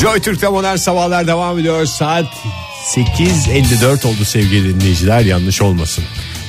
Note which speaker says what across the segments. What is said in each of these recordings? Speaker 1: Joy Türk'te modern sabahlar devam ediyor. Saat 8.54 oldu sevgili dinleyiciler yanlış olmasın.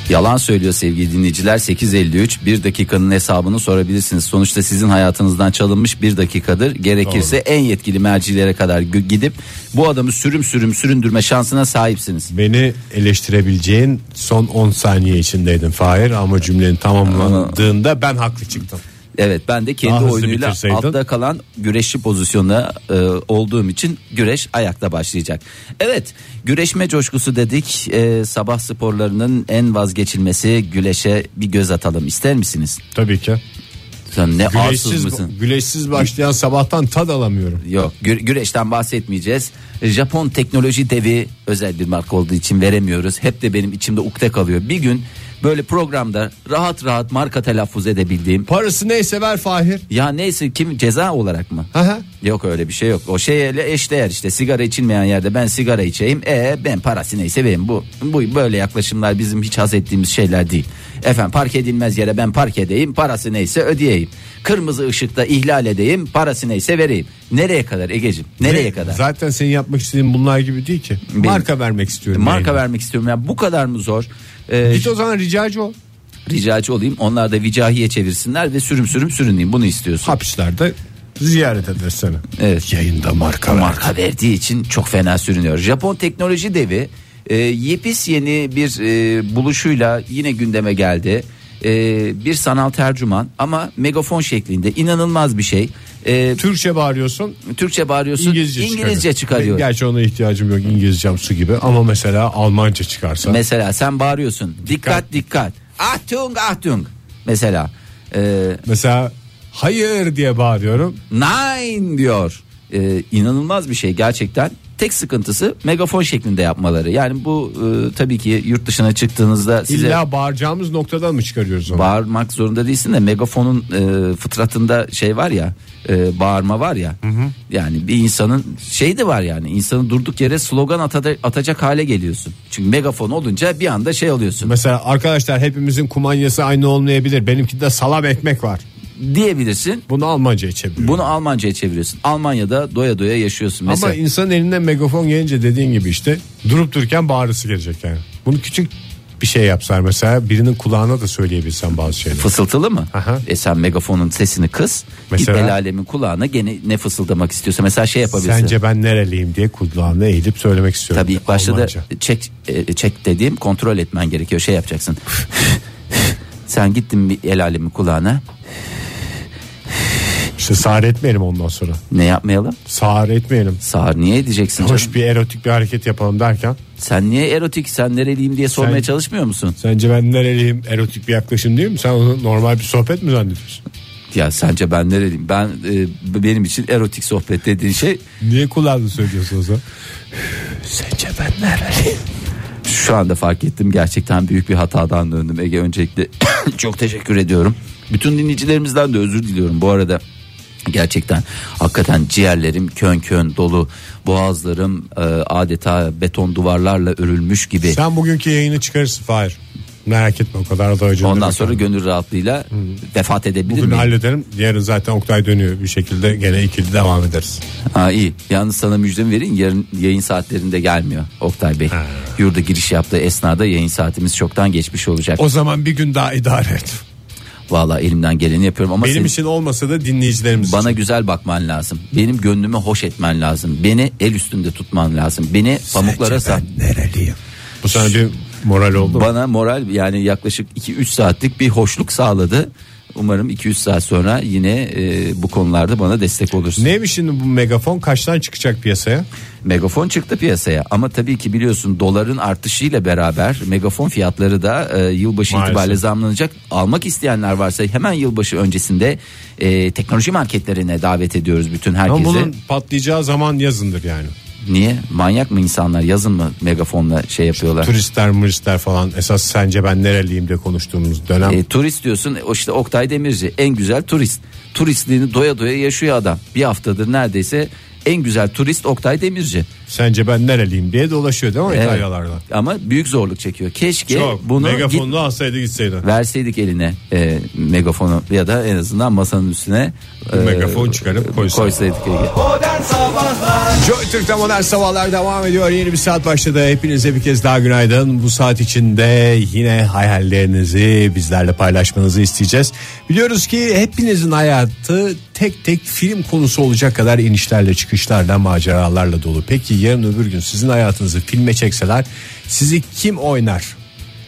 Speaker 2: Yalan söylüyor sevgili dinleyiciler 8.53 bir dakikanın hesabını sorabilirsiniz. Sonuçta sizin hayatınızdan çalınmış bir dakikadır. Gerekirse en yetkili mercilere kadar gü- gidip bu adamı sürüm sürüm süründürme şansına sahipsiniz.
Speaker 1: Beni eleştirebileceğin son 10 saniye içindeydin Fahir ama cümlenin tamamlandığında ben haklı çıktım.
Speaker 2: Evet ben de
Speaker 1: Daha
Speaker 2: kendi
Speaker 1: hızlı
Speaker 2: oyunuyla
Speaker 1: bitirseydin.
Speaker 2: altta kalan güreşçi pozisyonuna e, olduğum için güreş ayakta başlayacak. Evet güreşme coşkusu dedik. E, sabah sporlarının en vazgeçilmesi güleşe bir göz atalım ister misiniz?
Speaker 1: Tabii ki.
Speaker 2: Sen ne arsız
Speaker 1: Güleşsiz,
Speaker 2: mısın?
Speaker 1: güleşsiz başlayan sabahtan tad alamıyorum.
Speaker 2: Yok gü- güreşten bahsetmeyeceğiz. Japon teknoloji devi özel bir marka olduğu için veremiyoruz. Hep de benim içimde ukde kalıyor. Bir gün böyle programda rahat rahat marka telaffuz edebildiğim.
Speaker 1: Parası neyse ver Fahir.
Speaker 2: Ya neyse kim ceza olarak mı?
Speaker 1: Hı hı.
Speaker 2: Yok öyle bir şey yok. O şeyle eşdeğer işte sigara içilmeyen yerde ben sigara içeyim. E ben parası neyse benim bu. Bu böyle yaklaşımlar bizim hiç haz ettiğimiz şeyler değil. Efendim park edilmez yere ben park edeyim. Parası neyse ödeyeyim. Kırmızı ışıkta ihlal edeyim. Parası neyse vereyim. Nereye kadar Egeciğim? Nereye
Speaker 1: Ve
Speaker 2: kadar?
Speaker 1: Zaten senin yapmak istediğin bunlar gibi değil ki. Marka vermek istiyorum.
Speaker 2: Marka
Speaker 1: yayına.
Speaker 2: vermek istiyorum ya. Bu kadar mı zor? Ee,
Speaker 1: Git o zaman ricacı ol.
Speaker 2: ricacı olayım. Onlar da vicahiye çevirsinler ve sürüm sürüm sürüneyim. Bunu istiyorsun.
Speaker 1: Hapislerde ziyaret eder seni.
Speaker 2: Evet.
Speaker 1: Yayında marka ver.
Speaker 2: marka verdiği için çok fena sürünüyor. Japon teknoloji devi e, yepis yeni bir e, buluşuyla yine gündeme geldi. E, bir sanal tercüman ama megafon şeklinde inanılmaz bir şey. E,
Speaker 1: Türkçe bağırıyorsun
Speaker 2: Türkçe bağırıyorsun
Speaker 1: İngilizce,
Speaker 2: İngilizce, çıkarıyor.
Speaker 1: Gerçi ona ihtiyacım yok İngilizcem su gibi ama mesela Almanca çıkarsa.
Speaker 2: Mesela sen bağırıyorsun dikkat dikkat. Achtung Achtung. Mesela e,
Speaker 1: mesela hayır diye bağırıyorum.
Speaker 2: Nine diyor. Ee, inanılmaz bir şey gerçekten. Tek sıkıntısı megafon şeklinde yapmaları. Yani bu e, tabii ki yurt dışına çıktığınızda size
Speaker 1: İlla bağıracağımız noktadan mı çıkarıyoruz onu?
Speaker 2: bağırmak zorunda değilsin de megafonun e, fıtratında şey var ya e, bağırma var ya. Yani bir insanın şey de var yani insanın durduk yere slogan atada- atacak hale geliyorsun. Çünkü megafon olunca bir anda şey oluyorsun
Speaker 1: mesela arkadaşlar hepimizin kumanyası aynı olmayabilir. Benimki de salam ekmek var.
Speaker 2: diyebilirsin.
Speaker 1: Bunu Almanca'ya çeviriyorum.
Speaker 2: Bunu Almanca'ya çeviriyorsun. Almanya'da doya doya yaşıyorsun mesela.
Speaker 1: Ama insanın elinden megafon gelince dediğin gibi işte durup dururken bağırısı gelecek yani. Bunu küçük bir şey yapsalar mesela birinin kulağına da söyleyebilsen bazı şeyleri.
Speaker 2: Fısıltılı mı?
Speaker 1: Aha.
Speaker 2: E sen megafonun sesini kıs.
Speaker 1: Mesela?
Speaker 2: Git el alemin kulağına gene ne fısıldamak istiyorsa mesela şey yapabilirsin.
Speaker 1: Sence ben nereliyim diye kulağına eğilip söylemek istiyorum.
Speaker 2: Tabii ilk başta da
Speaker 1: Almanca.
Speaker 2: çek, e, çek dediğim kontrol etmen gerekiyor. Şey yapacaksın. sen gittin bir el alemin kulağına.
Speaker 1: İşte sağır etmeyelim ondan sonra.
Speaker 2: Ne yapmayalım?
Speaker 1: Sağır etmeyelim.
Speaker 2: Sağır niye edeceksin canım?
Speaker 1: Hoş bir erotik bir hareket yapalım derken
Speaker 2: Sen niye erotik sen nereliyim diye sormaya
Speaker 1: Sen-
Speaker 2: çalışmıyor musun?
Speaker 1: sence ben nereliyim erotik bir yaklaşım değil mi? Sen onu normal bir sohbet mi zannediyorsun?
Speaker 2: Ya sence ben nereliyim? Ben e, benim için erotik sohbet dediğin şey
Speaker 1: Niye kulağını söylüyorsun o zaman? sence ben nereliyim?
Speaker 2: şu anda fark ettim gerçekten büyük bir hatadan döndüm Ege öncelikle çok teşekkür ediyorum bütün dinleyicilerimizden de özür diliyorum bu arada gerçekten hakikaten ciğerlerim kön kön dolu boğazlarım e, adeta beton duvarlarla örülmüş gibi
Speaker 1: Sen bugünkü yayını çıkarırsın Fahir. Merak etme o kadar da acındırma.
Speaker 2: ondan sonra gönül rahatlığıyla vefat edebilir
Speaker 1: Bugün
Speaker 2: miyim?
Speaker 1: hallederim. Yarın zaten Oktay dönüyor bir şekilde. Gene ikili devam ederiz.
Speaker 2: Ha, iyi yalnız sana müjdemi verin yarın yayın saatlerinde gelmiyor Oktay Bey yurda giriş yaptığı esnada yayın saatimiz çoktan geçmiş olacak
Speaker 1: O zaman bir gün daha idare et.
Speaker 2: Vallahi elimden geleni yapıyorum ama
Speaker 1: Benim
Speaker 2: senin-
Speaker 1: için olmasa da dinleyicilerimiz
Speaker 2: Bana
Speaker 1: için.
Speaker 2: güzel bakman lazım. Benim gönlümü hoş etmen lazım. Beni el üstünde tutman lazım. Beni pamuklara
Speaker 1: Sence
Speaker 2: sar.
Speaker 1: ben nereliyim? Bu sana bir moral oldu mu?
Speaker 2: Bana moral yani yaklaşık 2-3 saatlik bir hoşluk sağladı. Umarım 2-3 saat sonra yine e, bu konularda bana destek olursun.
Speaker 1: Neymiş şimdi bu megafon kaçtan çıkacak piyasaya?
Speaker 2: Megafon çıktı piyasaya ama tabii ki biliyorsun doların artışıyla beraber megafon fiyatları da e, yılbaşı
Speaker 1: Maalesef.
Speaker 2: itibariyle zamlanacak. Almak isteyenler varsa hemen yılbaşı öncesinde e, teknoloji marketlerine davet ediyoruz bütün herkesi.
Speaker 1: Ama bunun patlayacağı zaman yazındır yani.
Speaker 2: Niye? Manyak mı insanlar? Yazın mı megafonla şey yapıyorlar?
Speaker 1: Turistler muristler falan esas sence ben nereliyim diye konuştuğumuz dönem.
Speaker 2: E, turist diyorsun o işte Oktay Demirci en güzel turist. Turistliğini doya doya yaşıyor adam. Bir haftadır neredeyse en güzel turist Oktay Demirci.
Speaker 1: Sence ben nereliyim diye dolaşıyor değil mi
Speaker 2: Evet.
Speaker 1: İtalyalarda?
Speaker 2: Ama büyük zorluk çekiyor. Keşke
Speaker 1: Çok.
Speaker 2: bunu git-
Speaker 1: Megafonunu alsaydı gitseydi.
Speaker 2: verseydik eline e, megafonu ya da en azından masanın üstüne e,
Speaker 1: megafon çıkarıp koysa.
Speaker 2: koysaydık. Ege.
Speaker 3: Modern Sabahlar
Speaker 1: Joy Türk'te modern sabahlar devam ediyor. Yeni bir saat başladı. Hepinize bir kez daha günaydın. Bu saat içinde yine hayallerinizi bizlerle paylaşmanızı isteyeceğiz. Biliyoruz ki hepinizin hayatı tek tek film konusu olacak kadar inişlerle çıkışlarla maceralarla dolu. Peki yarın öbür gün sizin hayatınızı filme çekseler sizi kim oynar?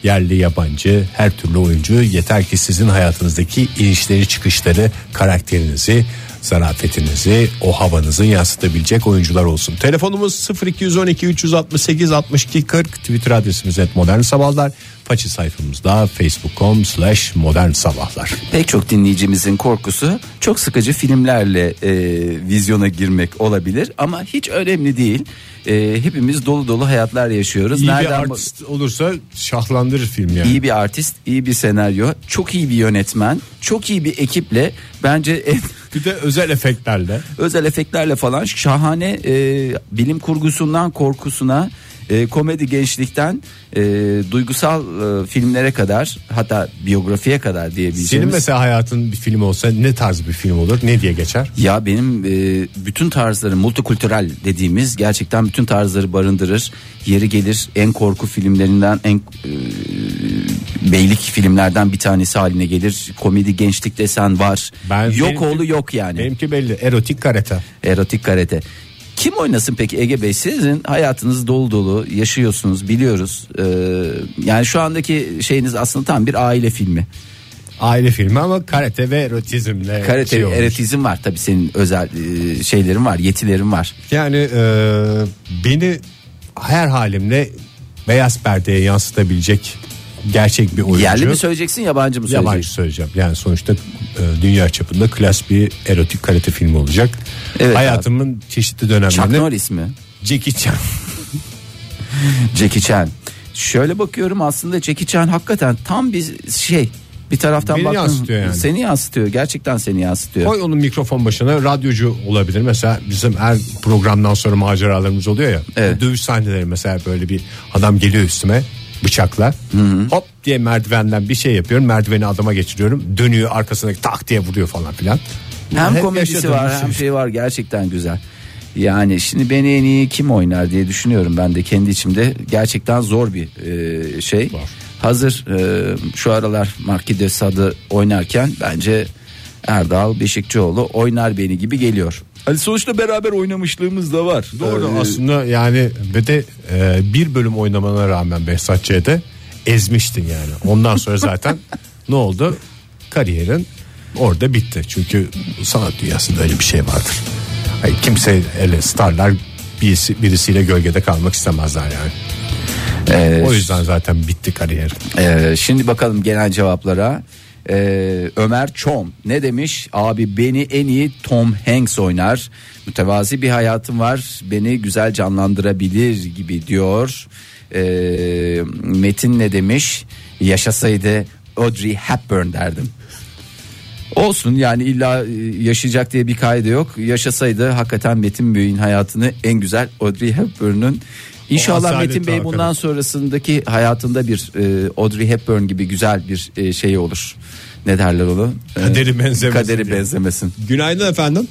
Speaker 1: Yerli yabancı her türlü oyuncu yeter ki sizin hayatınızdaki inişleri çıkışları karakterinizi zarafetinizi o havanızı yansıtabilecek oyuncular olsun. Telefonumuz 0212 368 62 40 Twitter adresimiz et modern sabahlar. Façı sayfamızda facebook.com slash modern sabahlar.
Speaker 2: Pek çok dinleyicimizin korkusu çok sıkıcı filmlerle e, vizyona girmek olabilir ama hiç önemli değil. E, hepimiz dolu dolu hayatlar yaşıyoruz. bu-
Speaker 1: olursa şahlandırır film yani.
Speaker 2: iyi bir artist, iyi bir senaryo, çok iyi bir yönetmen, çok iyi bir ekiple bence en
Speaker 1: Bir de özel efektlerle.
Speaker 2: özel efektlerle falan şahane e, bilim kurgusundan korkusuna e, komedi gençlikten e, duygusal e, filmlere kadar hatta biyografiye kadar
Speaker 1: Senin
Speaker 2: diyebileceğimiz.
Speaker 1: mesela hayatın bir film olsa ne tarz bir film olur? Ne diye geçer?
Speaker 2: Ya benim e, bütün tarzları multikültürel dediğimiz gerçekten bütün tarzları barındırır. Yeri gelir en korku filmlerinden en e, beylik filmlerden bir tanesi haline gelir. Komedi gençlik desen var.
Speaker 1: Ben-
Speaker 2: yok
Speaker 1: benim-
Speaker 2: oğlu yok yani.
Speaker 1: Benimki belli. Erotik karate.
Speaker 2: Erotik karate. Kim oynasın peki Ege Bey? Sizin hayatınız dolu dolu yaşıyorsunuz biliyoruz. Ee, yani şu andaki şeyiniz aslında tam bir aile filmi.
Speaker 1: Aile filmi ama karate ve erotizmle
Speaker 2: Karate
Speaker 1: şey olmuş.
Speaker 2: erotizm var tabii senin özel e, şeylerin var yetilerin var.
Speaker 1: Yani e, beni her halimle beyaz perdeye yansıtabilecek gerçek bir oyuncu.
Speaker 2: Yerli mi söyleyeceksin yabancı mı söyleyeceksin?
Speaker 1: Yabancı söyleyeceğim. Yani sonuçta e, dünya çapında klas bir erotik karate filmi olacak.
Speaker 2: Evet
Speaker 1: Hayatımın çeşitli
Speaker 2: Chuck
Speaker 1: dönemlerinde
Speaker 2: Norris mi?
Speaker 1: Jackie Chan.
Speaker 2: Jackie Chan. Şöyle bakıyorum aslında Jackie Chan hakikaten tam bir şey. Bir taraftan
Speaker 1: Beni
Speaker 2: baktığın-
Speaker 1: yansıtıyor yani.
Speaker 2: Seni yansıtıyor. Gerçekten seni yansıtıyor.
Speaker 1: Koy onun mikrofon başına radyocu olabilir. Mesela bizim her programdan sonra maceralarımız oluyor ya.
Speaker 2: Evet.
Speaker 1: Dövüş sahneleri mesela böyle bir adam geliyor üstüme bıçakla. Hop diye merdivenden bir şey yapıyorum. Merdiveni adama geçiriyorum. Dönüyor arkasındaki tak diye vuruyor falan filan.
Speaker 2: Hem
Speaker 1: Hep
Speaker 2: komedisi
Speaker 1: yaşadığımız
Speaker 2: var
Speaker 1: şey.
Speaker 2: hem şey var gerçekten güzel. Yani şimdi beni en iyi kim oynar diye düşünüyorum ben de kendi içimde. Gerçekten zor bir e, şey.
Speaker 1: Var.
Speaker 2: Hazır e, şu aralar Marki de Sadı oynarken bence Erdal Beşikçioğlu oynar beni gibi geliyor. Hani sonuçta beraber oynamışlığımız da var.
Speaker 1: Doğru
Speaker 2: Ee,
Speaker 1: aslında yani ve de e, bir bölüm oynamana rağmen Behzat Ç'de ezmiştin yani. Ondan sonra zaten ne oldu? Kariyerin orada bitti. Çünkü sanat dünyasında öyle bir şey vardır. Hayır, kimse öyle starlar birisi, birisiyle gölgede kalmak istemezler yani.
Speaker 2: Ee,
Speaker 1: o yüzden zaten bitti kariyer.
Speaker 2: Ee, şimdi bakalım gelen cevaplara. Ee, Ömer Çom ne demiş? Abi beni en iyi Tom Hanks oynar. Mütevazi bir hayatım var. Beni güzel canlandırabilir gibi diyor. Ee, Metin ne demiş? Yaşasaydı Audrey Hepburn derdim. Olsun yani illa e, yaşayacak diye bir kaydı yok. Yaşasaydı hakikaten Metin Bey'in hayatını en güzel Audrey Hepburn'un İnşallah
Speaker 1: asalet
Speaker 2: Metin Bey
Speaker 1: hakikaten.
Speaker 2: bundan sonrasındaki hayatında bir e, Audrey Hepburn gibi güzel bir e, şey olur. Ne derler onu? E,
Speaker 1: Kaderi benzemesin
Speaker 2: Kaderi
Speaker 1: diye.
Speaker 2: benzemesin.
Speaker 1: Günaydın efendim.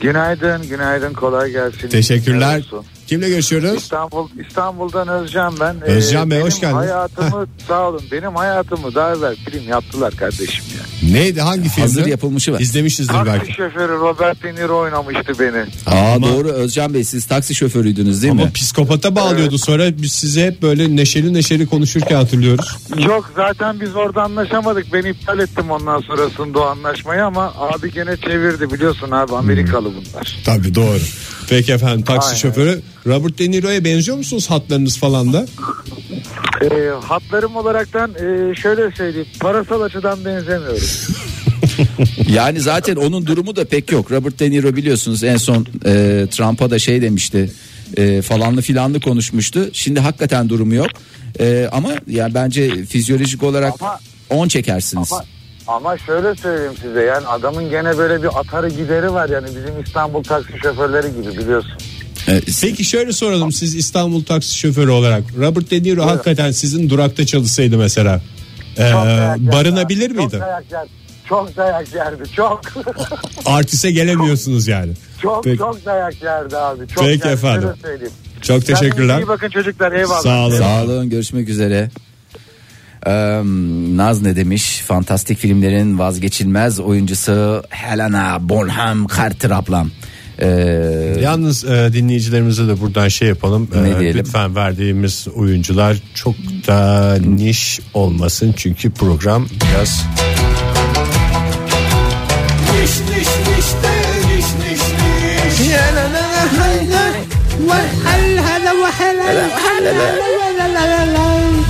Speaker 4: Günaydın, günaydın. Kolay gelsin.
Speaker 1: Teşekkürler.
Speaker 4: Olsun.
Speaker 1: Kimle görüşüyoruz?
Speaker 4: İstanbul İstanbul'dan Özcan ben. Ee,
Speaker 1: Özcan Bey,
Speaker 4: benim
Speaker 1: hoş geldiniz.
Speaker 4: Hayatımı sağ olun. Benim hayatımı daha evvel film yaptılar kardeşim ya.
Speaker 1: Neydi hangi filmdi?
Speaker 2: Hazır yapılmışı var.
Speaker 1: İzlemişizdir belki.
Speaker 4: Taksi şoförü Robert De Niro oynamıştı beni.
Speaker 2: Aa
Speaker 1: Ama-
Speaker 2: doğru Özcan Bey siz taksi şoförüydünüz değil
Speaker 1: Ama
Speaker 2: mi?
Speaker 1: psikopata bağlıyordu sonra biz size hep böyle neşeli neşeli konuşurken hatırlıyoruz.
Speaker 4: Yok zaten biz orada anlaşamadık. Ben iptal ettim ondan sonrasında o anlaşmayı ama abi gene çevirdi biliyorsun abi
Speaker 1: Hmm.
Speaker 4: Amerikalı bunlar.
Speaker 1: Tabii doğru. Peki efendim taksi
Speaker 4: Aynen.
Speaker 1: şoförü Robert De Niro'ya benziyor musunuz hatlarınız falan da?
Speaker 4: Ee, hatlarım olaraktan e, şöyle söyleyeyim. Parasal açıdan benzemiyorum.
Speaker 2: Yani zaten onun durumu da pek yok. Robert De Niro biliyorsunuz en son e, Trump'a da şey demişti. e, falanlı filanlı konuşmuştu. Şimdi hakikaten durumu yok. E, ama yani bence fizyolojik olarak
Speaker 4: Ama-
Speaker 2: 10 çekersiniz.
Speaker 4: Ama, ama şöyle söyleyeyim size
Speaker 1: Ee,
Speaker 4: yani adamın gene böyle bir atarı gideri var yani bizim İstanbul taksi şoförleri gibi biliyorsun.
Speaker 2: E,
Speaker 1: Peki şöyle soralım siz İstanbul taksi şoförü olarak Robert De Niro hakikaten sizin durakta çalışsaydı mesela
Speaker 4: Çok
Speaker 1: e,
Speaker 4: dayak yerdi.
Speaker 1: barınabilir miydi?
Speaker 4: Çok dayak yerdi. Çok dayak yerdi. Çok.
Speaker 1: Artise gelemiyorsunuz yani.
Speaker 4: çok
Speaker 1: Peki.
Speaker 4: çok dayak yerdi abi. Çok
Speaker 1: Peki
Speaker 4: yerdi,
Speaker 1: efendim.
Speaker 4: şöyle söyleyeyim.
Speaker 1: Çok
Speaker 4: Kendinize
Speaker 1: teşekkürler.
Speaker 4: İyi bakın çocuklar. Eyvallah.
Speaker 1: Sağ olun.
Speaker 2: Sağ olun görüşmek üzere. Eee, Naz ne demiş? Fantastik filmlerin vazgeçilmez oyuncusu Helena Bonham Carter ablam. Eee,
Speaker 1: Yalnız e, dinleyicilerimize de buradan şey yapalım. E,
Speaker 2: Ne diyelim?
Speaker 1: lütfen verdiğimiz oyuncular çok da niş olmasın çünkü program biraz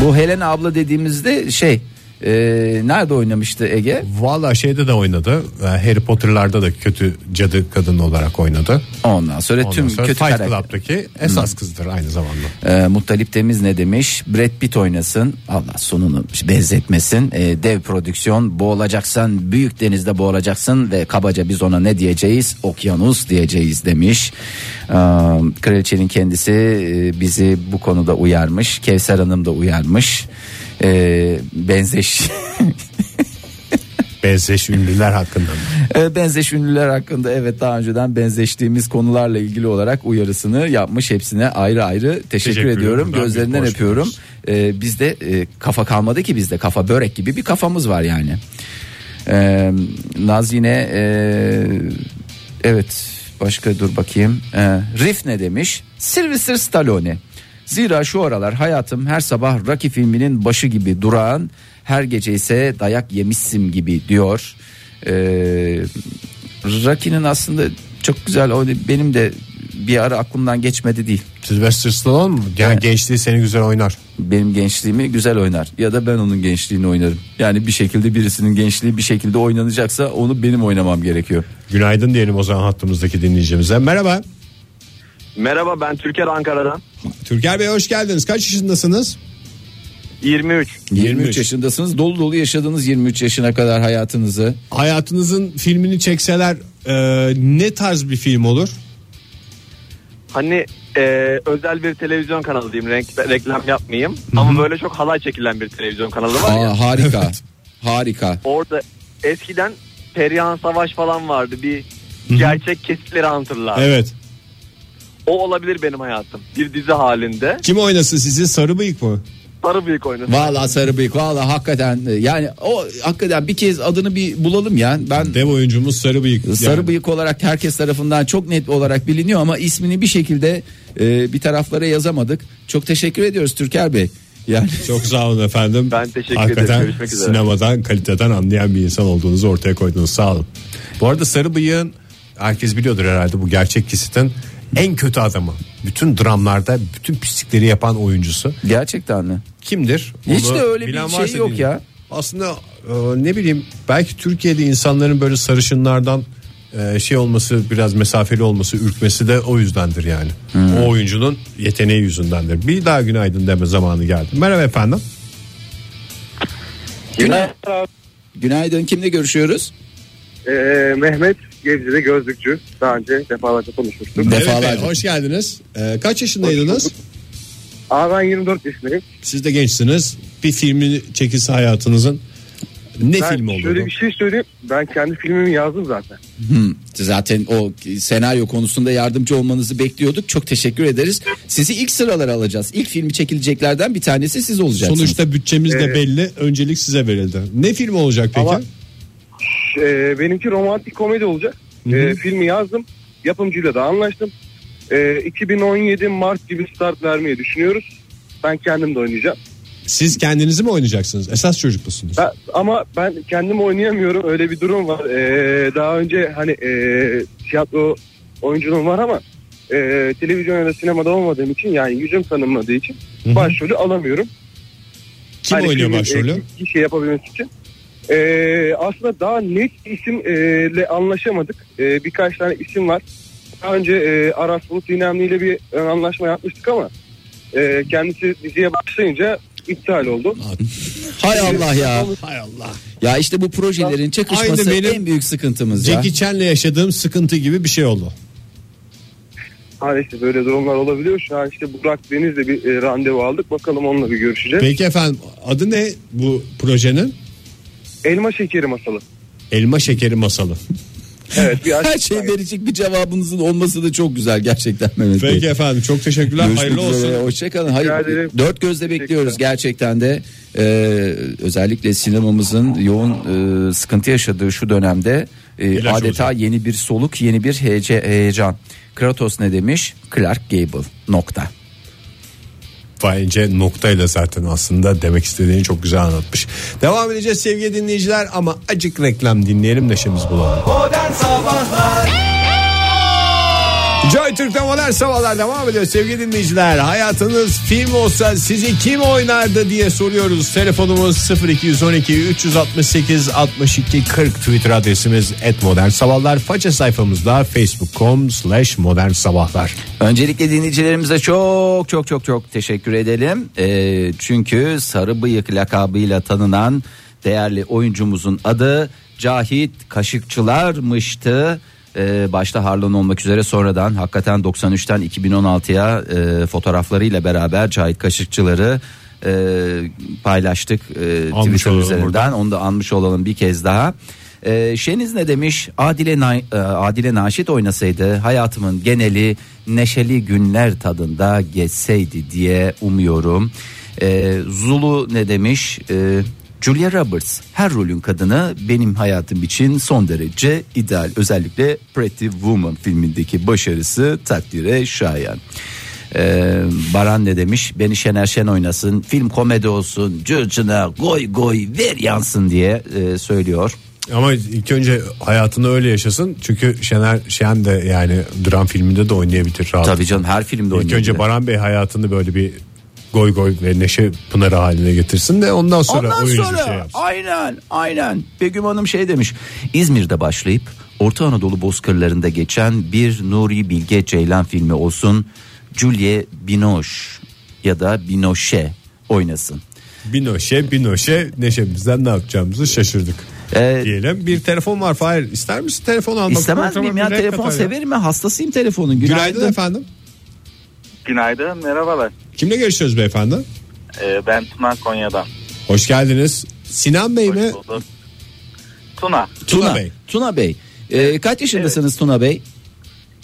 Speaker 2: bu Helena abla dediğimizde şey eee, nerede oynamıştı Ege?
Speaker 1: Valla şeyde de oynadı. E, Harry Potter'larda da kötü cadı kadın olarak oynadı.
Speaker 2: Ondan sonra
Speaker 1: Ondan
Speaker 2: tüm
Speaker 1: sonra
Speaker 2: kötü
Speaker 1: Fight
Speaker 2: karakter. Hmm.
Speaker 1: Club'daki esas kızdır aynı zamanda.
Speaker 2: Ee, Muttalip Temiz ne demiş? Brad Pitt oynasın. Allah sonunu benzetmesin. Ee, dev prodüksiyon. Boğulacaksın. Büyük denizde boğulacaksın. Ve kabaca biz ona ne diyeceğiz? Okyanus diyeceğiz demiş. Ee, kraliçenin kendisi e, bizi bu konuda uyarmış. Kevser Hanım da uyarmış. Ee, benzeş
Speaker 1: Benzeş ünlüler hakkında.
Speaker 2: E, Benzeş ünlüler hakkında evet daha önceden benzeştiğimiz konularla ilgili olarak uyarısını yapmış hepsine ayrı ayrı teşekkür,
Speaker 1: Teşekkür
Speaker 2: ediyorum.
Speaker 1: ederim. Ben
Speaker 2: Gözlerinden
Speaker 1: bir hoş
Speaker 2: öpüyorum. E, bizde e, kafa kalmadı ki bizde kafa börek gibi bir kafamız var yani. E, Naz yine e, evet başka dur bakayım. E, Riff ne demiş? Sylvester Stallone. Zira şu aralar hayatım her sabah Rocky filminin başı gibi durağan her gece ise dayak yemişsim gibi diyor. E, Rocky'nin aslında çok güzel o benim de bir ara aklımdan geçmedi değil.
Speaker 1: Sylvester Stallone mu? Yani gençliği seni güzel oynar.
Speaker 2: benim gençliğimi güzel oynar ya da ben onun gençliğini oynarım. Yani bir şekilde birisinin gençliği bir şekilde oynanacaksa onu benim oynamam gerekiyor.
Speaker 1: Günaydın diyelim o zaman hattımızdaki dinleyicimize. Merhaba.
Speaker 3: Merhaba ben Türker Ankara'dan.
Speaker 1: Türker Bey hoş geldiniz. Kaç yaşındasınız?
Speaker 3: 23.
Speaker 2: 23,
Speaker 1: 23
Speaker 2: yaşındasınız. Dolu dolu yaşadınız 23 yaşına kadar hayatınızı.
Speaker 1: Hayatınızın filmini çekseler e, ne tarz bir film olur?
Speaker 3: Hani e, özel bir televizyon kanalı diyeyim renk, reklam yapmayayım. Ama böyle çok halay çekilen bir televizyon kanalı var ya.
Speaker 2: Aa harika. Harika.
Speaker 3: Orada eskiden Perihan Savaş falan vardı bir gerçek kesitleri anlatırlar.
Speaker 1: Evet.
Speaker 3: O olabilir benim hayatım. Bir dizi halinde.
Speaker 1: Kim oynasın sizi? Sarı bıyık mı?
Speaker 3: Sarı büyük oynasın.
Speaker 2: Vallahi sarı bıyık vallahi hakikaten e, yani o hakikaten bir kez adını bir bulalım ya. Ben
Speaker 1: Dev oyuncumuz sarı bıyık. Yani
Speaker 2: Sarı bıyık olarak herkes tarafından çok net olarak biliniyor ama ismini bir şekilde e, bir taraflara yazamadık. Çok teşekkür ediyoruz Türker Bey. Yani
Speaker 1: Çok sağ olun efendim.
Speaker 3: Ben teşekkür ederim.
Speaker 1: Hakikaten
Speaker 3: Görüşmek üzere.
Speaker 1: sinemadan, kaliteden anlayan bir insan olduğunuzu ortaya koydunuz. Sağ olun. Bu arada sarı bıyığın herkes biliyordur herhalde bu gerçek kesitin en kötü adamı. Bütün dramlarda bütün pislikleri yapan oyuncusu
Speaker 2: gerçekten mi?
Speaker 1: kimdir?
Speaker 2: Hiç
Speaker 1: Onu
Speaker 2: de öyle bir
Speaker 1: bilen
Speaker 2: şey
Speaker 1: varsa
Speaker 2: yok
Speaker 1: bilin.
Speaker 2: ya.
Speaker 1: Aslında e, ne bileyim belki Türkiye'de insanların böyle sarışınlardan e, şey olması biraz mesafeli olması ürkmesi de o yüzdendir yani.
Speaker 2: Hmm.
Speaker 1: O oyuncunun yeteneği yüzündendir. Bir daha günaydın deme zamanı geldi. Merhaba efendim.
Speaker 2: Günaydın kimle görüşüyoruz?
Speaker 5: Ee, Mehmet Gebze'de gözlükçü. Daha önce defalarca konuşmuştuk.
Speaker 2: Defalarca.
Speaker 1: Evet, hoş geldiniz. Ee, kaç yaşındaydınız?
Speaker 5: Aa ben 24 yaşındayım.
Speaker 1: Siz de gençsiniz. Bir filmin çekilse hayatınızın ne
Speaker 5: Ben
Speaker 1: film olurdu?
Speaker 5: şöyle bir şey söyleyeyim. Ben kendi filmimi yazdım zaten.
Speaker 2: Hmm, zaten o senaryo konusunda yardımcı olmanızı bekliyorduk. Çok teşekkür ederiz. Sizi ilk sıralara alacağız. İlk filmi çekileceklerden bir tanesi siz olacaksınız.
Speaker 1: Sonuçta bütçemiz de
Speaker 5: Ee,
Speaker 1: belli. Öncelik size verildi. Ne film olacak peki?
Speaker 5: Ama- Ee, benimki romantik komedi olacak. Ee, filmi yazdım. Yapımcıyla da anlaştım. Ee, 2017 Mart gibi start vermeyi düşünüyoruz. Ben kendim de oynayacağım.
Speaker 1: Siz kendinizi mi oynayacaksınız? Esas çocuk musunuz?
Speaker 5: Ben- ama ben kendim oynayamıyorum. Öyle bir durum var. Ee, daha önce hani ee, tiyatro oyunculuğum var ama ee, televizyon ya da sinemada olmadığım için yani yüzüm tanınmadığı için
Speaker 1: hı.
Speaker 5: başrolü alamıyorum.
Speaker 1: Kim
Speaker 5: Hani
Speaker 1: oynuyor
Speaker 5: filmin,
Speaker 1: başrolü?
Speaker 5: e, Bir şey yapabilmesi için. Ee, aslında daha net isimle anlaşamadık. Ee, birkaç tane isim var. Daha önce e, Aras Bulut İynemli ile bir ön anlaşma yapmıştık ama e, kendisi diziye başlayınca iptal oldu.
Speaker 2: Hay Allah ya.
Speaker 1: Hay Allah.
Speaker 2: Ya işte bu projelerin
Speaker 1: Aynı
Speaker 2: çakışması
Speaker 1: benim
Speaker 2: en büyük sıkıntımız ya.
Speaker 1: Jackie Chan'le yaşadığım sıkıntı gibi bir şey oldu.
Speaker 5: Maalesef böyle durumlar olabiliyor. Şu an işte Burak Deniz'le bir e, randevu aldık. Bakalım onunla bir görüşeceğiz.
Speaker 1: Peki efendim adı ne bu projenin?
Speaker 5: Elma şekeri masalı.
Speaker 1: Elma şekeri masalı.
Speaker 5: Evet bir
Speaker 2: Her şey verecek bir cevabınızın olması da çok güzel gerçekten Mehmet Bey.
Speaker 1: Peki efendim çok teşekkürler.
Speaker 2: Görüşmek
Speaker 1: Hayırlı olsun.
Speaker 2: üzere, Hoşçakalın.
Speaker 5: Rica
Speaker 2: Hayır,
Speaker 5: ederim.
Speaker 2: dört gözle bekliyoruz
Speaker 5: Teşekkürler.
Speaker 2: gerçekten de. Ee, özellikle sinemamızın yoğun e, sıkıntı yaşadığı şu dönemde e,
Speaker 1: İlaç
Speaker 2: adeta
Speaker 1: olacak.
Speaker 2: yeni bir soluk, yeni bir hece, heyecan. Kratos ne demiş? Clark Gable. Nokta.
Speaker 1: Bence noktayla zaten aslında demek istediğini çok güzel anlatmış. Devam edeceğiz sevgili dinleyiciler ama acık reklam dinleyelim neşemiz bulalım. Joy Türk'te modern sabahlar devam ediyor sevgili dinleyiciler. Hayatınız film olsa sizi kim oynardı diye soruyoruz. Telefonumuz 0212 368 62 40 Twitter adresimiz et modern sabahlar. Faça sayfamızda facebook.com slash modern sabahlar.
Speaker 2: Öncelikle dinleyicilerimize çok çok çok çok teşekkür edelim. Ee, çünkü sarı bıyık lakabıyla tanınan değerli oyuncumuzun adı Cahit Kaşıkçılarmıştı. Ee, başta Harlan olmak üzere sonradan hakikaten 93'ten 2016'ya e, fotoğraflarıyla beraber Cahit Kaşıkçıları e, paylaştık e,
Speaker 1: Almış
Speaker 2: Twitter
Speaker 1: olalım
Speaker 2: üzerinden.
Speaker 1: buradan.
Speaker 2: Onu da anmış olalım bir kez daha. Ee, Şeniz ne demiş? Adile, Na- e, Adile Naşit oynasaydı hayatımın geneli neşeli günler tadında geçseydi diye umuyorum. Ee, Zulu ne demiş? Ee, Julia Roberts her rolün kadını benim hayatım için son derece ideal. Özellikle Pretty Woman filmindeki başarısı takdire şayan. Ee, Baran ne demiş? Beni Şener Şen oynasın, film komedi olsun, cırcına goy goy ver yansın diye e, söylüyor.
Speaker 1: Ama ilk önce hayatını öyle yaşasın. Çünkü Şener Şen de yani dram filminde de oynayabilir rahat.
Speaker 2: Tabii canım her filmde
Speaker 1: İlk
Speaker 2: oynuyor.
Speaker 1: önce Baran Bey hayatını böyle bir goy goy ve neşe pınarı haline getirsin de ondan sonra
Speaker 2: Ondan
Speaker 1: oyuncu
Speaker 2: sonra
Speaker 1: şey yapsın.
Speaker 2: aynen aynen Begüm Hanım şey demiş. İzmir'de başlayıp Orta Anadolu bozkırlarında geçen bir Nuri Bilge Ceylan filmi olsun. Julie Binoche ya da Binoche oynasın.
Speaker 1: Binoşe binoşe neşemizden ne yapacağımızı şaşırdık.
Speaker 2: Ee,
Speaker 1: Diyelim bir telefon var Fahir ister misin telefonu almak?
Speaker 2: İstemez
Speaker 1: Programa
Speaker 2: miyim ya
Speaker 1: bir renk
Speaker 2: telefon
Speaker 1: katar ya.
Speaker 2: severim ben hastasıyım telefonun.
Speaker 1: Günaydın.
Speaker 2: Günaydın.
Speaker 1: efendim.
Speaker 6: Günaydın, merhabalar.
Speaker 1: Kimle görüşüyoruz beyefendi?
Speaker 6: Ee, ben Tuna Konya'dan.
Speaker 1: Hoş geldiniz. Sinan Bey
Speaker 6: Hoş
Speaker 1: mi?
Speaker 6: bulduk.
Speaker 1: Tuna
Speaker 6: Tuna,
Speaker 2: Tuna,
Speaker 1: Bey.
Speaker 2: Bey. Tuna Bey. Ee, kaç yaşındasınız Tuna Bey?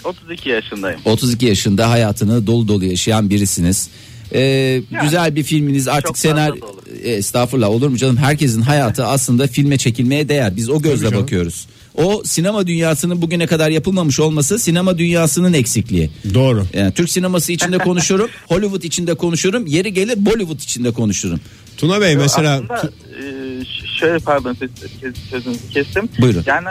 Speaker 6: 32 yaşındayım.
Speaker 2: 32 yaşında hayatını dolu dolu yaşayan birisiniz. Ee, güzel bir filminiz artık
Speaker 6: çok
Speaker 2: senar
Speaker 6: fazla dolu.
Speaker 2: E, estağfurullah olur mu canım herkesin hayatı aslında filme çekilmeye değer biz o gözle
Speaker 1: canım.
Speaker 2: bakıyoruz. O sinema dünyasının bugüne kadar yapılmamış olması sinema dünyasının eksikliği.
Speaker 1: Doğru.
Speaker 2: Yani Türk sineması içinde konuşurum, Hollywood içinde konuşurum, yeri gelir Bollywood içinde konuşurum.
Speaker 1: Tuna Bey mesela
Speaker 6: Aslında
Speaker 1: Tu-
Speaker 6: e, ş- şöyle pardon siz- kes- sözünüzü kestim.
Speaker 2: Buyurun.
Speaker 6: Yani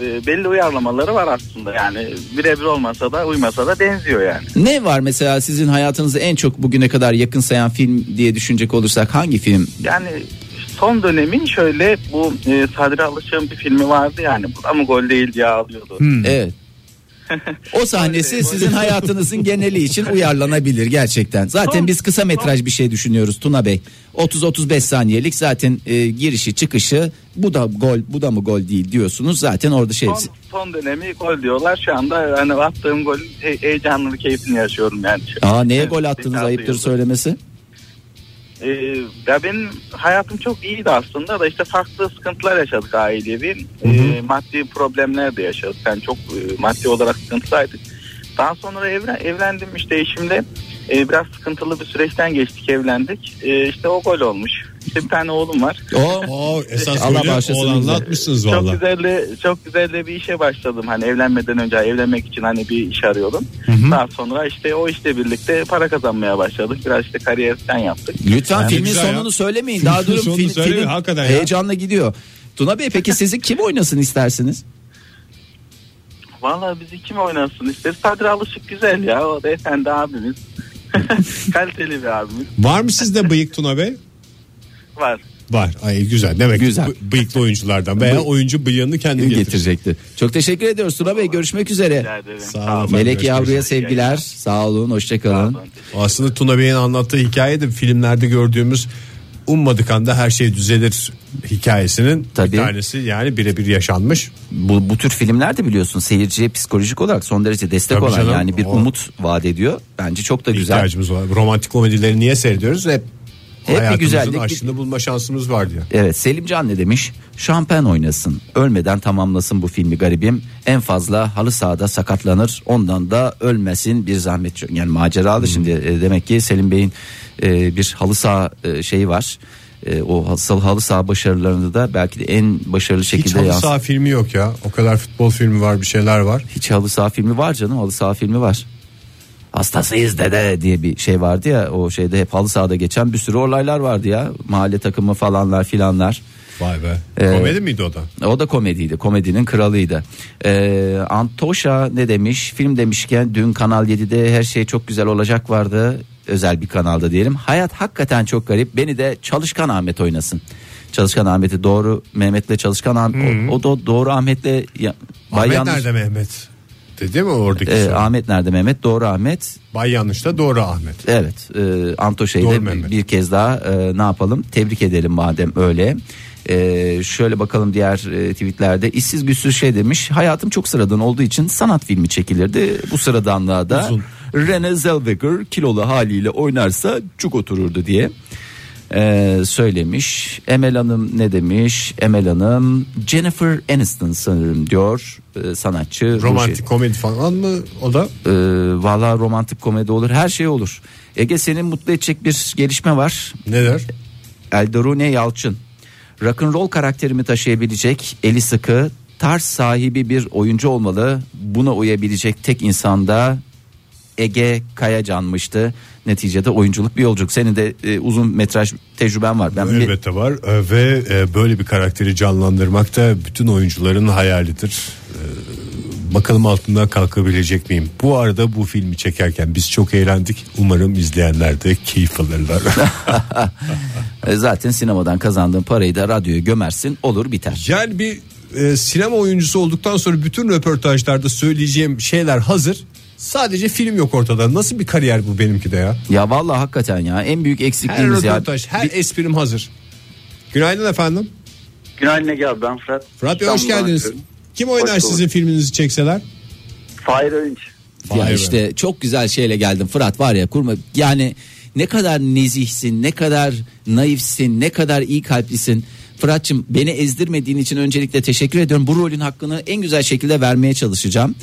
Speaker 6: e, belli uyarlamaları var aslında. Yani birebir olmasa da uymasa da benziyor yani.
Speaker 2: Ne var mesela sizin hayatınızı en çok bugüne kadar yakın sayan film diye düşünecek olursak hangi film?
Speaker 6: Yani son dönemin şöyle bu e, Sadri Alışık'ın bir filmi vardı yani. Bu da mı gol değil diye ağlıyordu.
Speaker 2: Evet. O sahnesi sizin hayatınızın geneli için uyarlanabilir gerçekten. Zaten
Speaker 6: Son-
Speaker 2: biz kısa metraj bir şey düşünüyoruz Tuna Bey. 30-35 saniyelik zaten e, girişi çıkışı bu da gol bu da mı gol değil diyorsunuz. Zaten orada şey
Speaker 6: Son, son dönemi gol diyorlar. Şu anda hani attığım golün he- heyecanını, keyfini yaşıyorum yani.
Speaker 2: Aa neye gol
Speaker 6: Evet,
Speaker 2: attınız
Speaker 6: bir
Speaker 2: ayıptır
Speaker 6: hafta
Speaker 2: söylemesi.
Speaker 6: Ee, ya benim hayatım çok iyiydi aslında da işte farklı sıkıntılar yaşadık ailevi. Ee, maddi problemler de yaşadık. Yani çok e, maddi olarak sıkıntılıydık. Daha sonra evlen, evlendim işte eşimle. Ee, biraz sıkıntılı bir süreçten geçtik evlendik. Ee, işte o gol olmuş. İşte bir tane oğlum var.
Speaker 2: O
Speaker 1: Oo, esas
Speaker 2: Allah
Speaker 1: böyle
Speaker 2: bağışlasın bizi.
Speaker 1: oğlanla atmışsınız valla.
Speaker 6: Çok güzel de- çok güzel de bir işe başladım. Hani evlenmeden önce evlenmek için hani bir iş arıyordum. Daha sonra işte o işle birlikte para kazanmaya başladık. Biraz işte kariyerden yaptık.
Speaker 2: lütfen
Speaker 1: Yani
Speaker 2: filmin
Speaker 1: güzel ya.
Speaker 2: sonunu söylemeyin.
Speaker 1: Filmin
Speaker 2: Daha durun
Speaker 1: sonunu
Speaker 2: film,
Speaker 1: söylemeyin,
Speaker 2: film
Speaker 1: hakikaten ya.
Speaker 2: heyecanla gidiyor. Tuna Bey peki sizi kim oynasın istersiniz?
Speaker 6: Vallahi bizi kim oynasın ister? Sadri Alışık güzel ya. O beyefendi abimiz. Kaliteli bir abimiz
Speaker 1: Var mı sizde bıyık Tuna Bey?
Speaker 6: var.
Speaker 1: Var. Ay güzel. Demek
Speaker 2: Güzel.
Speaker 1: güzel. bıyıklı oyunculardan veya
Speaker 2: Bıy-
Speaker 1: oyuncu bıyığını kendi getirecek.
Speaker 2: Getirecekti. Çok teşekkür ediyoruz Tuna Bey görüşmek
Speaker 6: Rica
Speaker 2: üzere.
Speaker 6: ederim.
Speaker 1: Sağ olun. efendim,
Speaker 2: Melek
Speaker 1: görüşmek
Speaker 2: Yavru'ya
Speaker 1: üzere.
Speaker 2: sevgiler. Sağ olun hoşçakalın.
Speaker 6: Pardon.
Speaker 1: Aslında Tuna Bey'in anlattığı hikaye de filmlerde gördüğümüz ummadık anda her şey düzelir hikayesinin
Speaker 2: Tabii.
Speaker 1: bir tanesi yani birebir yaşanmış.
Speaker 2: Bu, bu tür filmler de biliyorsun seyirciye psikolojik olarak son derece destek
Speaker 1: Tabii
Speaker 2: olan
Speaker 1: canım,
Speaker 2: yani bir
Speaker 1: o-
Speaker 2: umut vaat ediyor. Bence çok da güzel.
Speaker 1: İhtiyacımız var. Romantik komedileri niye seyrediyoruz? Hep,
Speaker 2: bir
Speaker 1: hayatımızın
Speaker 2: güzellik, bir-
Speaker 1: aşını bulma şansımız var diye.
Speaker 2: Evet Selimcan ne demiş? Şampen oynasın. Ölmeden tamamlasın bu filmi garibim. En fazla halı sahada sakatlanır. Ondan da ölmesin bir zahmet. yok. Yani maceralı şimdi. E, Demek ki Selim Bey'in e, bir halı saha e, şeyi var. E, o halı, halı saha başarılarını da belki de en başarılı
Speaker 1: Hiç
Speaker 2: şekilde
Speaker 1: halı
Speaker 2: yansıtıyor.
Speaker 1: saha filmi yok ya. O kadar futbol filmi var bir şeyler var.
Speaker 2: Hiç halı saha filmi var canım halı saha filmi var. Hastasıyız dede diye bir şey vardı ya o şeyde hep halı sahada geçen bir sürü olaylar vardı ya. Mahalle takımı falanlar filanlar.
Speaker 1: Vay be.
Speaker 2: Ee,
Speaker 1: Komedi miydi o da?
Speaker 2: O da komediydi. Komedinin kralıydı. Ee, Antoşa ne demiş? Film demişken dün Kanal 7'de her şey çok güzel olacak vardı. Özel bir kanalda diyelim. Hayat hakikaten çok garip. Beni de Çalışkan Ahmet oynasın. Çalışkan Ahmet'i doğru Mehmet'le Çalışkan Ahmet. O, o da doğru Ahmet'le ya, Bay
Speaker 1: Ahmet
Speaker 2: Yanlış-
Speaker 1: nerede Mehmet? Dedi mi oradaki?
Speaker 2: Ee,
Speaker 1: soru?
Speaker 2: Ahmet nerede Mehmet? Doğru Ahmet.
Speaker 1: Bay yanlışta doğru Ahmet.
Speaker 2: Evet e, Antoşa'yı
Speaker 1: Doğru
Speaker 2: da
Speaker 1: Mehmet.
Speaker 2: bir kez daha e, ne yapalım tebrik edelim madem öyle. E, şöyle bakalım diğer e, tweetlerde işsiz güçsüz şey demiş hayatım çok sıradan olduğu için sanat filmi çekilirdi bu sıradanlığa da
Speaker 1: Uzun.
Speaker 2: Rene Zellweger kilolu haliyle oynarsa cuk otururdu diye e, söylemiş Emel Hanım ne demiş Emel Hanım Jennifer Aniston sanırım diyor e, sanatçı Ruji.
Speaker 1: Romantik komedi falan mı o da?
Speaker 2: Ee, Valla romantik komedi olur her şey olur. Ege senin mutlu edecek bir gelişme var.
Speaker 1: Neler?
Speaker 2: Eldorune Yalçın. Rock'n'roll karakterimi taşıyabilecek eli sıkı tarz sahibi bir oyuncu olmalı. Buna uyabilecek tek insan da Ege Kayacan'mıştı. Neticede oyunculuk bir yolculuk. Senin de e, uzun metraj tecrüben var. Ben bir-
Speaker 1: Elbette var Ee, ve e, böyle bir karakteri canlandırmak da bütün oyuncuların hayalidir. Ee, Bakalım altından kalkabilecek miyim? Bu arada bu filmi çekerken biz çok eğlendik. Umarım izleyenler de keyif alırlar.
Speaker 2: e, zaten sinemadan kazandığın parayı da radyoya gömersin olur biter.
Speaker 1: yani bir e, sinema oyuncusu olduktan sonra bütün röportajlarda söyleyeceğim şeyler hazır. Sadece film yok ortada. Nasıl bir kariyer bu benimki de ya?
Speaker 2: Ya vallahi hakikaten ya en büyük
Speaker 1: Her
Speaker 2: eksikliğimiz ya.
Speaker 1: röportaj, her esprim hazır. Günaydın efendim.
Speaker 6: Günaydın Ege abi ben Fırat.
Speaker 1: Fırat Bey hoş
Speaker 6: İstanbul'dan
Speaker 1: geldiniz.
Speaker 6: arıyorum.
Speaker 1: Kim oynar
Speaker 6: Hoş bulduk.
Speaker 1: sizin filminizi çekseler?
Speaker 6: Fahir Önç.
Speaker 1: Vay
Speaker 2: Ya
Speaker 1: be.
Speaker 2: işte çok güzel şeyle geldim Fırat var ya kurma yani ne kadar nezihsin ne kadar naifsin ne kadar iyi kalplisin. Fırat'cığım beni ezdirmediğin için öncelikle teşekkür ediyorum. Bu rolün hakkını en güzel şekilde vermeye çalışacağım.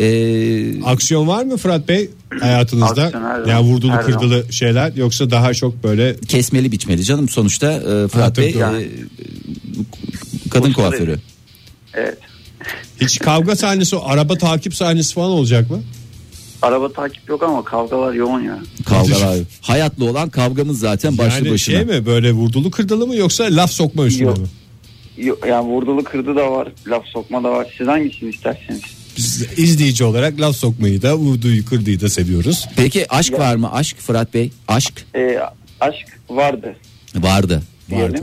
Speaker 2: Ee,
Speaker 1: Aksiyon var mı Fırat Bey hayatınızda?
Speaker 6: Aksiyon her zaman,
Speaker 1: yani vurdulu
Speaker 6: her zaman.
Speaker 1: kırdılı şeyler yoksa daha çok böyle
Speaker 2: kesmeli biçmeli canım sonuçta e,
Speaker 1: Ha,
Speaker 2: Fırat
Speaker 1: tabii,
Speaker 2: Bey
Speaker 1: tabii.
Speaker 2: e, kadın
Speaker 6: Uçları.
Speaker 2: kuaförü.
Speaker 6: Evet.
Speaker 1: hiç kavga sahnesi, araba takip sahnesi falan olacak mı?
Speaker 6: Araba takip yok ama kavgalar yoğun ya.
Speaker 2: Kavgalar. Hayatlı olan kavgamız zaten başlı
Speaker 1: yani
Speaker 2: başına.
Speaker 1: şey mi böyle vurdulu kırdılı mı yoksa laf sokma üstüne
Speaker 6: Yok.
Speaker 1: mi?
Speaker 6: Yo- Yani vurdulu kırdı da var, laf sokma da var. Siz hangisini isterseniz?
Speaker 1: Biz izleyici olarak laf sokmayı da vurduyu kırdığı da seviyoruz.
Speaker 2: Peki aşk var mı? Aşk Fırat Bey? Aşk
Speaker 6: Ee, aşk vardı
Speaker 2: vardı.
Speaker 1: Vardı.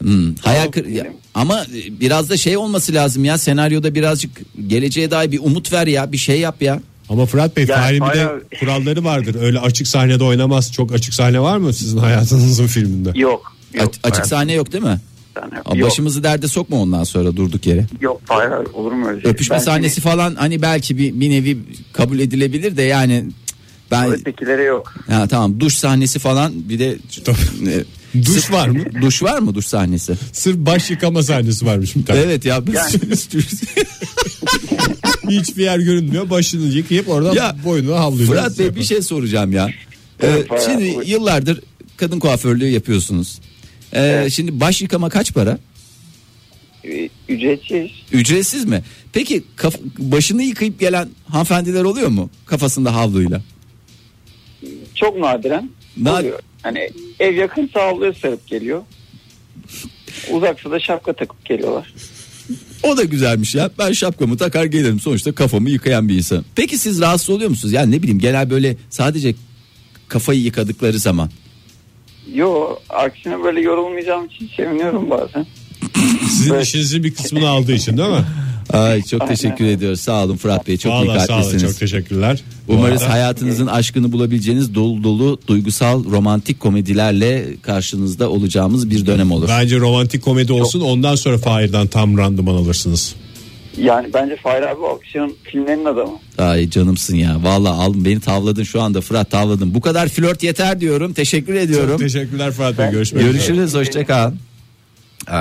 Speaker 6: diyelim.
Speaker 2: Hmm, hayal kır-
Speaker 6: Tamam,
Speaker 2: ya-
Speaker 6: diyelim.
Speaker 2: ama biraz da şey olması lazım ya senaryoda birazcık geleceğe dair bir umut ver ya bir şey yap ya.
Speaker 1: Ama Fırat Bey
Speaker 6: Ya,
Speaker 1: Fahri'nin bir
Speaker 6: bayağı-
Speaker 1: de kuralları vardır. Öyle açık sahnede oynamaz. Çok açık sahne var mı sizin hayatınızın filminde?
Speaker 6: Yok. yok
Speaker 2: A- açık sahne yok değil mi?
Speaker 6: sahne.
Speaker 2: Aa,
Speaker 6: Yok,
Speaker 2: Başımızı derde sokma ondan sonra durduk yere.
Speaker 6: yok Fahir abi, olur mu öyle şey?
Speaker 2: Öpüşme
Speaker 6: Ben
Speaker 2: sahnesi falan hani belki bir, bir nevi kabul edilebilir de yani cık,
Speaker 6: seni-
Speaker 2: ben
Speaker 6: Ötekilere yok.
Speaker 2: ha, tamam duş sahnesi falan bir de e,
Speaker 1: Duş
Speaker 2: sırf-
Speaker 1: var mı?
Speaker 2: Duş var mı duş sahnesi?
Speaker 1: Sırf baş yıkama sahnesi varmış bir tane.
Speaker 2: evet ya biz
Speaker 1: Hiçbir yer görünmüyor. Başını yıkayıp oradan
Speaker 2: Ya,
Speaker 1: boynunu havluyla.
Speaker 2: Fırat Bey bir şey soracağım ya. Ee,
Speaker 6: Evet, bayağı.
Speaker 2: şimdi yıllardır kadın kuaförlüğü yapıyorsunuz. Ee, Şimdi baş yıkama kaç para?
Speaker 6: Ee, Ücretsiz.
Speaker 2: Ücretsiz mi? Peki kaf- başını yıkayıp gelen hanımefendiler oluyor mu? Kafasında havluyla.
Speaker 6: Çok nadiren.
Speaker 2: Nad-
Speaker 6: oluyor. Hani ev yakın sağlıyor sarıp geliyor. Uzaksa da şapka takıp geliyorlar.
Speaker 2: O da güzelmiş ya. Ben şapkamı takar gelirim sonuçta kafamı yıkayan bir insan. Peki siz rahatsız oluyor musunuz? Yani ne bileyim genel böyle sadece kafayı yıkadıkları zaman.
Speaker 6: Yo aksine böyle yorulmayacağım için seviniyorum bazen.
Speaker 1: Sizin
Speaker 6: Evet.
Speaker 1: işinizin bir kısmını aldığı için değil mi?
Speaker 2: Ay çok teşekkür ediyoruz. Sağ olun Fırat Bey. Çok
Speaker 1: Vallahi sağ olun
Speaker 2: dikkatlisiniz.
Speaker 1: çok teşekkürler. Bu
Speaker 2: Umarız
Speaker 1: arada-
Speaker 2: hayatınızın aşkını bulabileceğiniz dolu dolu duygusal romantik komedilerle karşınızda olacağımız bir dönem olur.
Speaker 1: Bence romantik komedi olsun ondan sonra Fahir'den tam randıman alırsınız.
Speaker 7: Yani bence Fahir abi bu akşam filmlerin adamı.
Speaker 2: Ay canımsın ya. Vallahi al beni tavladın şu anda Fırat tavladın. Bu kadar flört yeter diyorum. Teşekkür ediyorum.
Speaker 1: Çok teşekkürler Fırat Bey görüşmek üzere.
Speaker 2: Görüşürüz hoşça kal. Ee,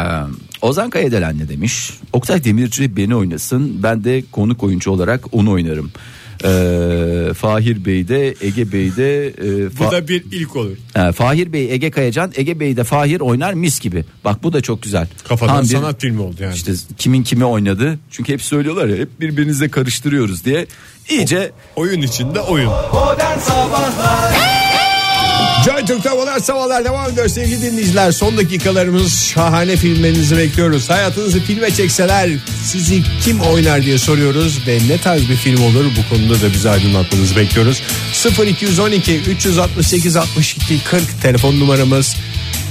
Speaker 2: Ozan Kayadelen ne demiş? Oktay Demirci beni oynasın. Ben de konuk oyuncu olarak onu oynarım. Ee, Fahir Bey de Ege Bey de e, Fa-
Speaker 1: Bu da bir ilk olur.
Speaker 2: Ee, Fahir Bey Ege Kayacan Ege Bey de Fahir oynar mis gibi. Bak bu da çok güzel.
Speaker 1: Kafadan
Speaker 2: Tam bir-
Speaker 1: sanat filmi oldu yani.
Speaker 2: İşte kimin kimi oynadı? Çünkü hep söylüyorlar ya hep birbirinize karıştırıyoruz diye. İyice
Speaker 1: Oyun içinde oyun. Joy Türk'te modern sabahlar devam ediyor sevgili dinleyiciler. Son dakikalarımız şahane filmlerinizi bekliyoruz. Hayatınızı filme çekseler sizi kim oynar diye soruyoruz. Ve ne tarz bir film olur bu konuda da bizi aydınlatmanızı bekliyoruz. 0212 368 62 40 telefon numaramız.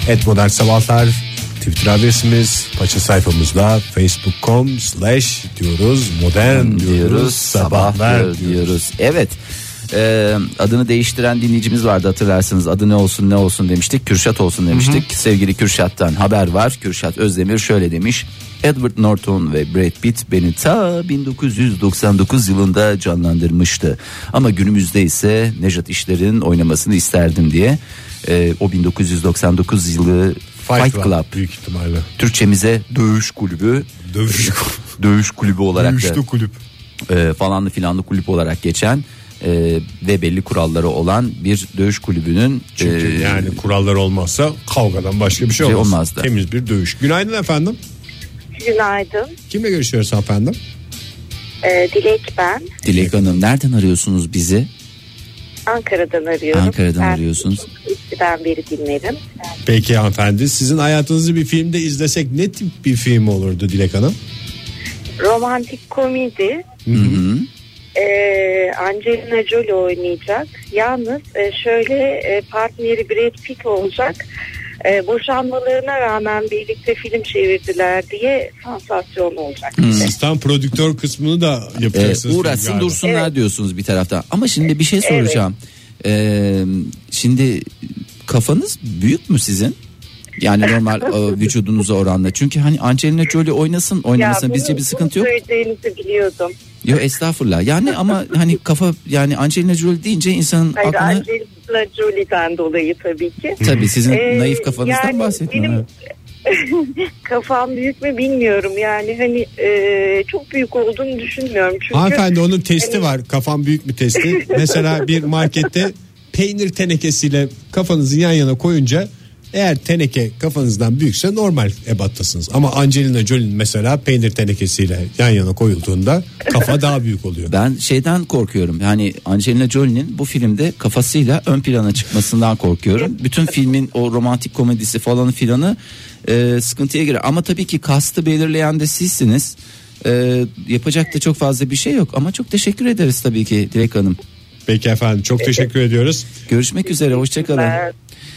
Speaker 1: Et modern sabahlar Twitter adresimiz paça sayfamızda facebook.com slash diyoruz modern diyoruz sabahlar diyoruz.
Speaker 2: diyoruz. Evet. Ee, adını değiştiren dinleyicimiz vardı hatırlarsınız. Adı ne olsun ne olsun demiştik. Kürşat olsun demiştik. Sevgili Kürşat'tan haber var. Kürşat Özdemir şöyle demiş. Edward Norton ve Brad Pitt beni ta 1999 yılında canlandırmıştı. Ama günümüzde ise Nejat İşler'in oynamasını isterdim diye. Ee, o 1999 yılı Fight,
Speaker 1: Fight
Speaker 2: Club.
Speaker 1: Club büyük ihtimalle.
Speaker 2: Türkçemize dövüş kulübü.
Speaker 1: Dövüş
Speaker 2: Dövüş kulübü olarak da
Speaker 1: Dövüşlü kulüp.
Speaker 2: e, falanlı filanlı kulüp olarak geçen e, ve belli kuralları olan bir dövüş kulübünün
Speaker 1: Çünkü
Speaker 2: e,
Speaker 1: yani kurallar olmazsa kavgadan başka bir şey
Speaker 2: şey
Speaker 1: olmaz.
Speaker 2: olmazdı.
Speaker 1: Temiz bir dövüş. Günaydın efendim.
Speaker 8: Günaydın.
Speaker 1: Kimle görüşüyoruz efendim?
Speaker 8: Ee, Dilek ben.
Speaker 2: Dilek Hanım nereden arıyorsunuz bizi?
Speaker 8: Ankara'dan arıyorum.
Speaker 2: Ankara'dan
Speaker 8: ben
Speaker 2: arıyorsunuz.
Speaker 8: Eskiden beri dinlerim.
Speaker 1: Peki hanımefendi sizin hayatınızı bir filmde izlesek ne tip bir film olurdu Dilek Hanım?
Speaker 8: Romantik komedi. Ee, Angelina Jolie oynayacak. Yalnız e, şöyle e, partneri Brad Pitt olacak. E, boşanmalarına rağmen birlikte film çevirdiler diye sansasyon olacak.
Speaker 1: Siz tam prodüktör kısmını da
Speaker 2: E,
Speaker 1: yapacaksınız.
Speaker 2: Hmm. uğraşsın
Speaker 1: galiba.
Speaker 2: dursunlar
Speaker 8: Evet.
Speaker 2: diyorsunuz bir taraftan. Ama şimdi bir şey soracağım. E, şimdi kafanız büyük mü sizin? Yani normal e, vücudunuza oranla. Çünkü hani Angelina Jolie oynasın oynamasın bizce bir sıkıntı yok.
Speaker 8: Söyleyeceğinizi biliyordum.
Speaker 2: Yok estağfurullah. Yani ama hani kafa yani Angelina Jolie deyince insanın
Speaker 8: Hayır
Speaker 2: aklına
Speaker 8: Angelina Jolie'den dolayı tabii ki.
Speaker 2: tabii sizin
Speaker 8: Ee,
Speaker 2: naif kafanızdan
Speaker 8: yani
Speaker 2: bahsetmiyorum.
Speaker 8: benim- Kafam büyük mü bilmiyorum yani hani e, çok büyük olduğunu düşünmüyorum çünkü
Speaker 1: Hanımefendi onun testi var. Kafam büyük bir testi. Mesela bir markette peynir tenekesiyle kafanızı yan yana koyunca eğer teneke kafanızdan büyükse normal ebattasınız. Ama Angelina Jolie'nin mesela peynir tenekesiyle yan yana koyulduğunda kafa daha büyük oluyor.
Speaker 2: Ben şeyden korkuyorum. Yani Angelina Jolie'nin bu filmde kafasıyla ön plana çıkmasından korkuyorum. Bütün filmin o romantik komedisi falan filanı e, sıkıntıya girer. Ama tabii ki kastı belirleyen de sizsiniz. E, yapacak da çok fazla bir şey yok. Ama çok teşekkür ederiz tabii ki Dilek Hanım.
Speaker 1: Peki efendim çok teşekkür ediyoruz.
Speaker 2: Görüşmek üzere. Hoşçakalın.
Speaker 8: Ben-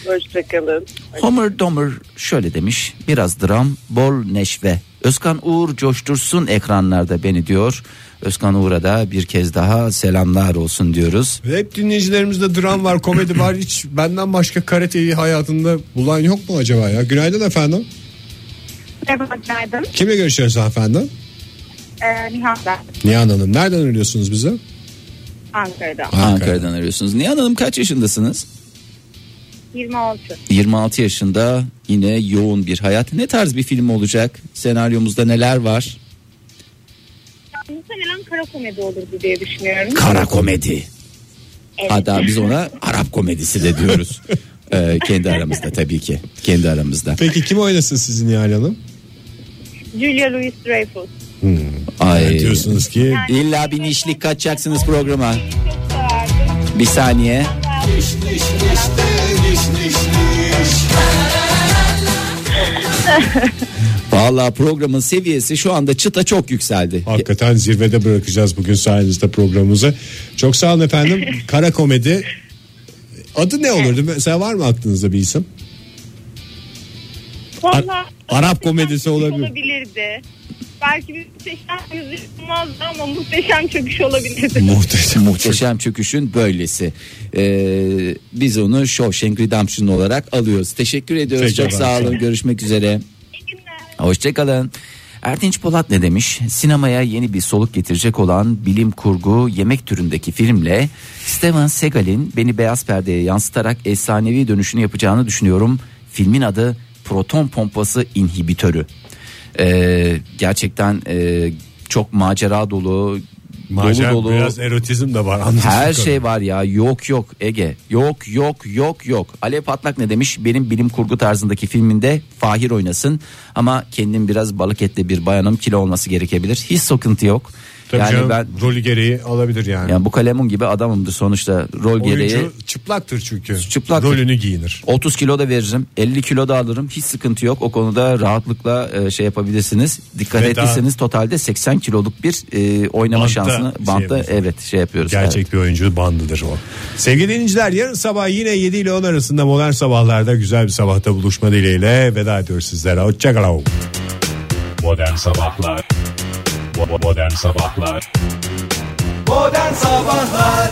Speaker 8: Hoşçakalın.
Speaker 2: Homer Domer şöyle demiş. Biraz dram, bol neşve. Özkan Uğur coştursun ekranlarda beni diyor. Özkan Uğur'a da bir kez daha selamlar olsun diyoruz.
Speaker 1: Hep dinleyicilerimizde dram var, komedi var. Hiç benden başka karateyi hayatında bulan yok mu acaba ya? Günaydın efendim.
Speaker 9: Merhaba günaydın.
Speaker 1: Kimle görüşüyoruz efendim?
Speaker 9: Ee, Nihan ben
Speaker 1: Nihan Hanım. Nereden arıyorsunuz bizi?
Speaker 9: Ankara'dan.
Speaker 1: Ankara.
Speaker 2: Ankara'dan arıyorsunuz. Nihan Hanım kaç yaşındasınız?
Speaker 9: 26.
Speaker 2: 26 yaşında yine yoğun bir hayat. Ne tarz bir film olacak? Senaryomuzda neler var?
Speaker 9: Muhtemelen kara komedi olurdu diye düşünüyorum.
Speaker 2: Kara komedi. Hatta biz ona Arap komedisi de diyoruz. Ee, kendi aramızda tabii ki. Kendi aramızda.
Speaker 1: Peki kim oynasın sizi Nihal Hanım?
Speaker 9: Julia Louis-Dreyfus.
Speaker 2: Ay.
Speaker 1: Diyorsunuz ki
Speaker 2: İlla bir nişlik kaçacaksınız programa.
Speaker 9: Çok severdim.
Speaker 2: Bir saniye. Valla programın seviyesi şu anda çıta çok yükseldi.
Speaker 1: hakikaten zirvede bırakacağız bugün sayenizde programımızı. Çok sağ olun efendim. Kara komedi. Adı ne olurdu? Mesela var mı aklınızda bir isim?
Speaker 9: Valla
Speaker 1: Arap komedisi olabilir.
Speaker 9: olabilirdi. Belki bir muhteşem yüzü olmazdı ama muhteşem çöküş olabilirdi.
Speaker 1: Muhteşem.
Speaker 2: Muhteşem çöküşün böylesi. Ee, biz onu Shawshank Redemption olarak alıyoruz. Teşekkür ediyoruz.
Speaker 1: Peki,
Speaker 2: Çok sağ
Speaker 1: ben-
Speaker 2: olun. Görüşmek üzere.
Speaker 9: İyi günler.
Speaker 2: Hoşçakalın. Erdinç Polat ne demiş? Sinemaya yeni bir soluk getirecek olan bilim kurgu yemek türündeki filmle Steven Seagal'in beni beyaz perdeye yansıtarak efsanevi dönüşünü yapacağını düşünüyorum. Filmin adı Proton Pompası İnhibitörü. Ee, gerçekten e, çok macera dolu,
Speaker 1: Macera
Speaker 2: dolu dolu.
Speaker 1: biraz erotizm de var. anladığım
Speaker 2: Her
Speaker 1: kadarıyla.
Speaker 2: şey var ya yok yok Ege yok yok yok yok Alev Patlak ne demiş benim bilim kurgu tarzındaki filminde Fahir oynasın ama kendim biraz balık etli bir bayanım kilo olması gerekebilir hiç sıkıntı yok
Speaker 1: Tabii
Speaker 2: yani
Speaker 1: canım,
Speaker 2: ben
Speaker 1: rolü gereği alabilir yani.
Speaker 2: yani bu kalemun gibi adamımdır sonuçta rol gereği
Speaker 1: Oyuncu çıplaktır çünkü.
Speaker 2: Çıplaktır.
Speaker 1: Rolünü giyinir.
Speaker 2: 30 kilo da veririm 50 kilo da alırım hiç sıkıntı yok o konuda rahatlıkla e, şey yapabilirsiniz dikkat
Speaker 1: Ve daha-
Speaker 2: ettiyseniz totalde 80 kiloluk bir e, oynama
Speaker 1: Bantta
Speaker 2: şansını
Speaker 1: şey
Speaker 2: bantta
Speaker 1: yapıyoruz.
Speaker 2: evet şey yapıyoruz
Speaker 1: Gerçek
Speaker 2: Evet.
Speaker 1: bir oyuncu bandıdır o. Sevgili dinleyiciler yarın sabah yine 7 ile 10 arasında modern sabahlarda güzel bir sabahta buluşma dileğiyle veda ediyoruz sizlere. Hoşçakalın.
Speaker 10: Modern Sabahlar Bo- bo- Modern Sabahlar
Speaker 11: Modern Sabahlar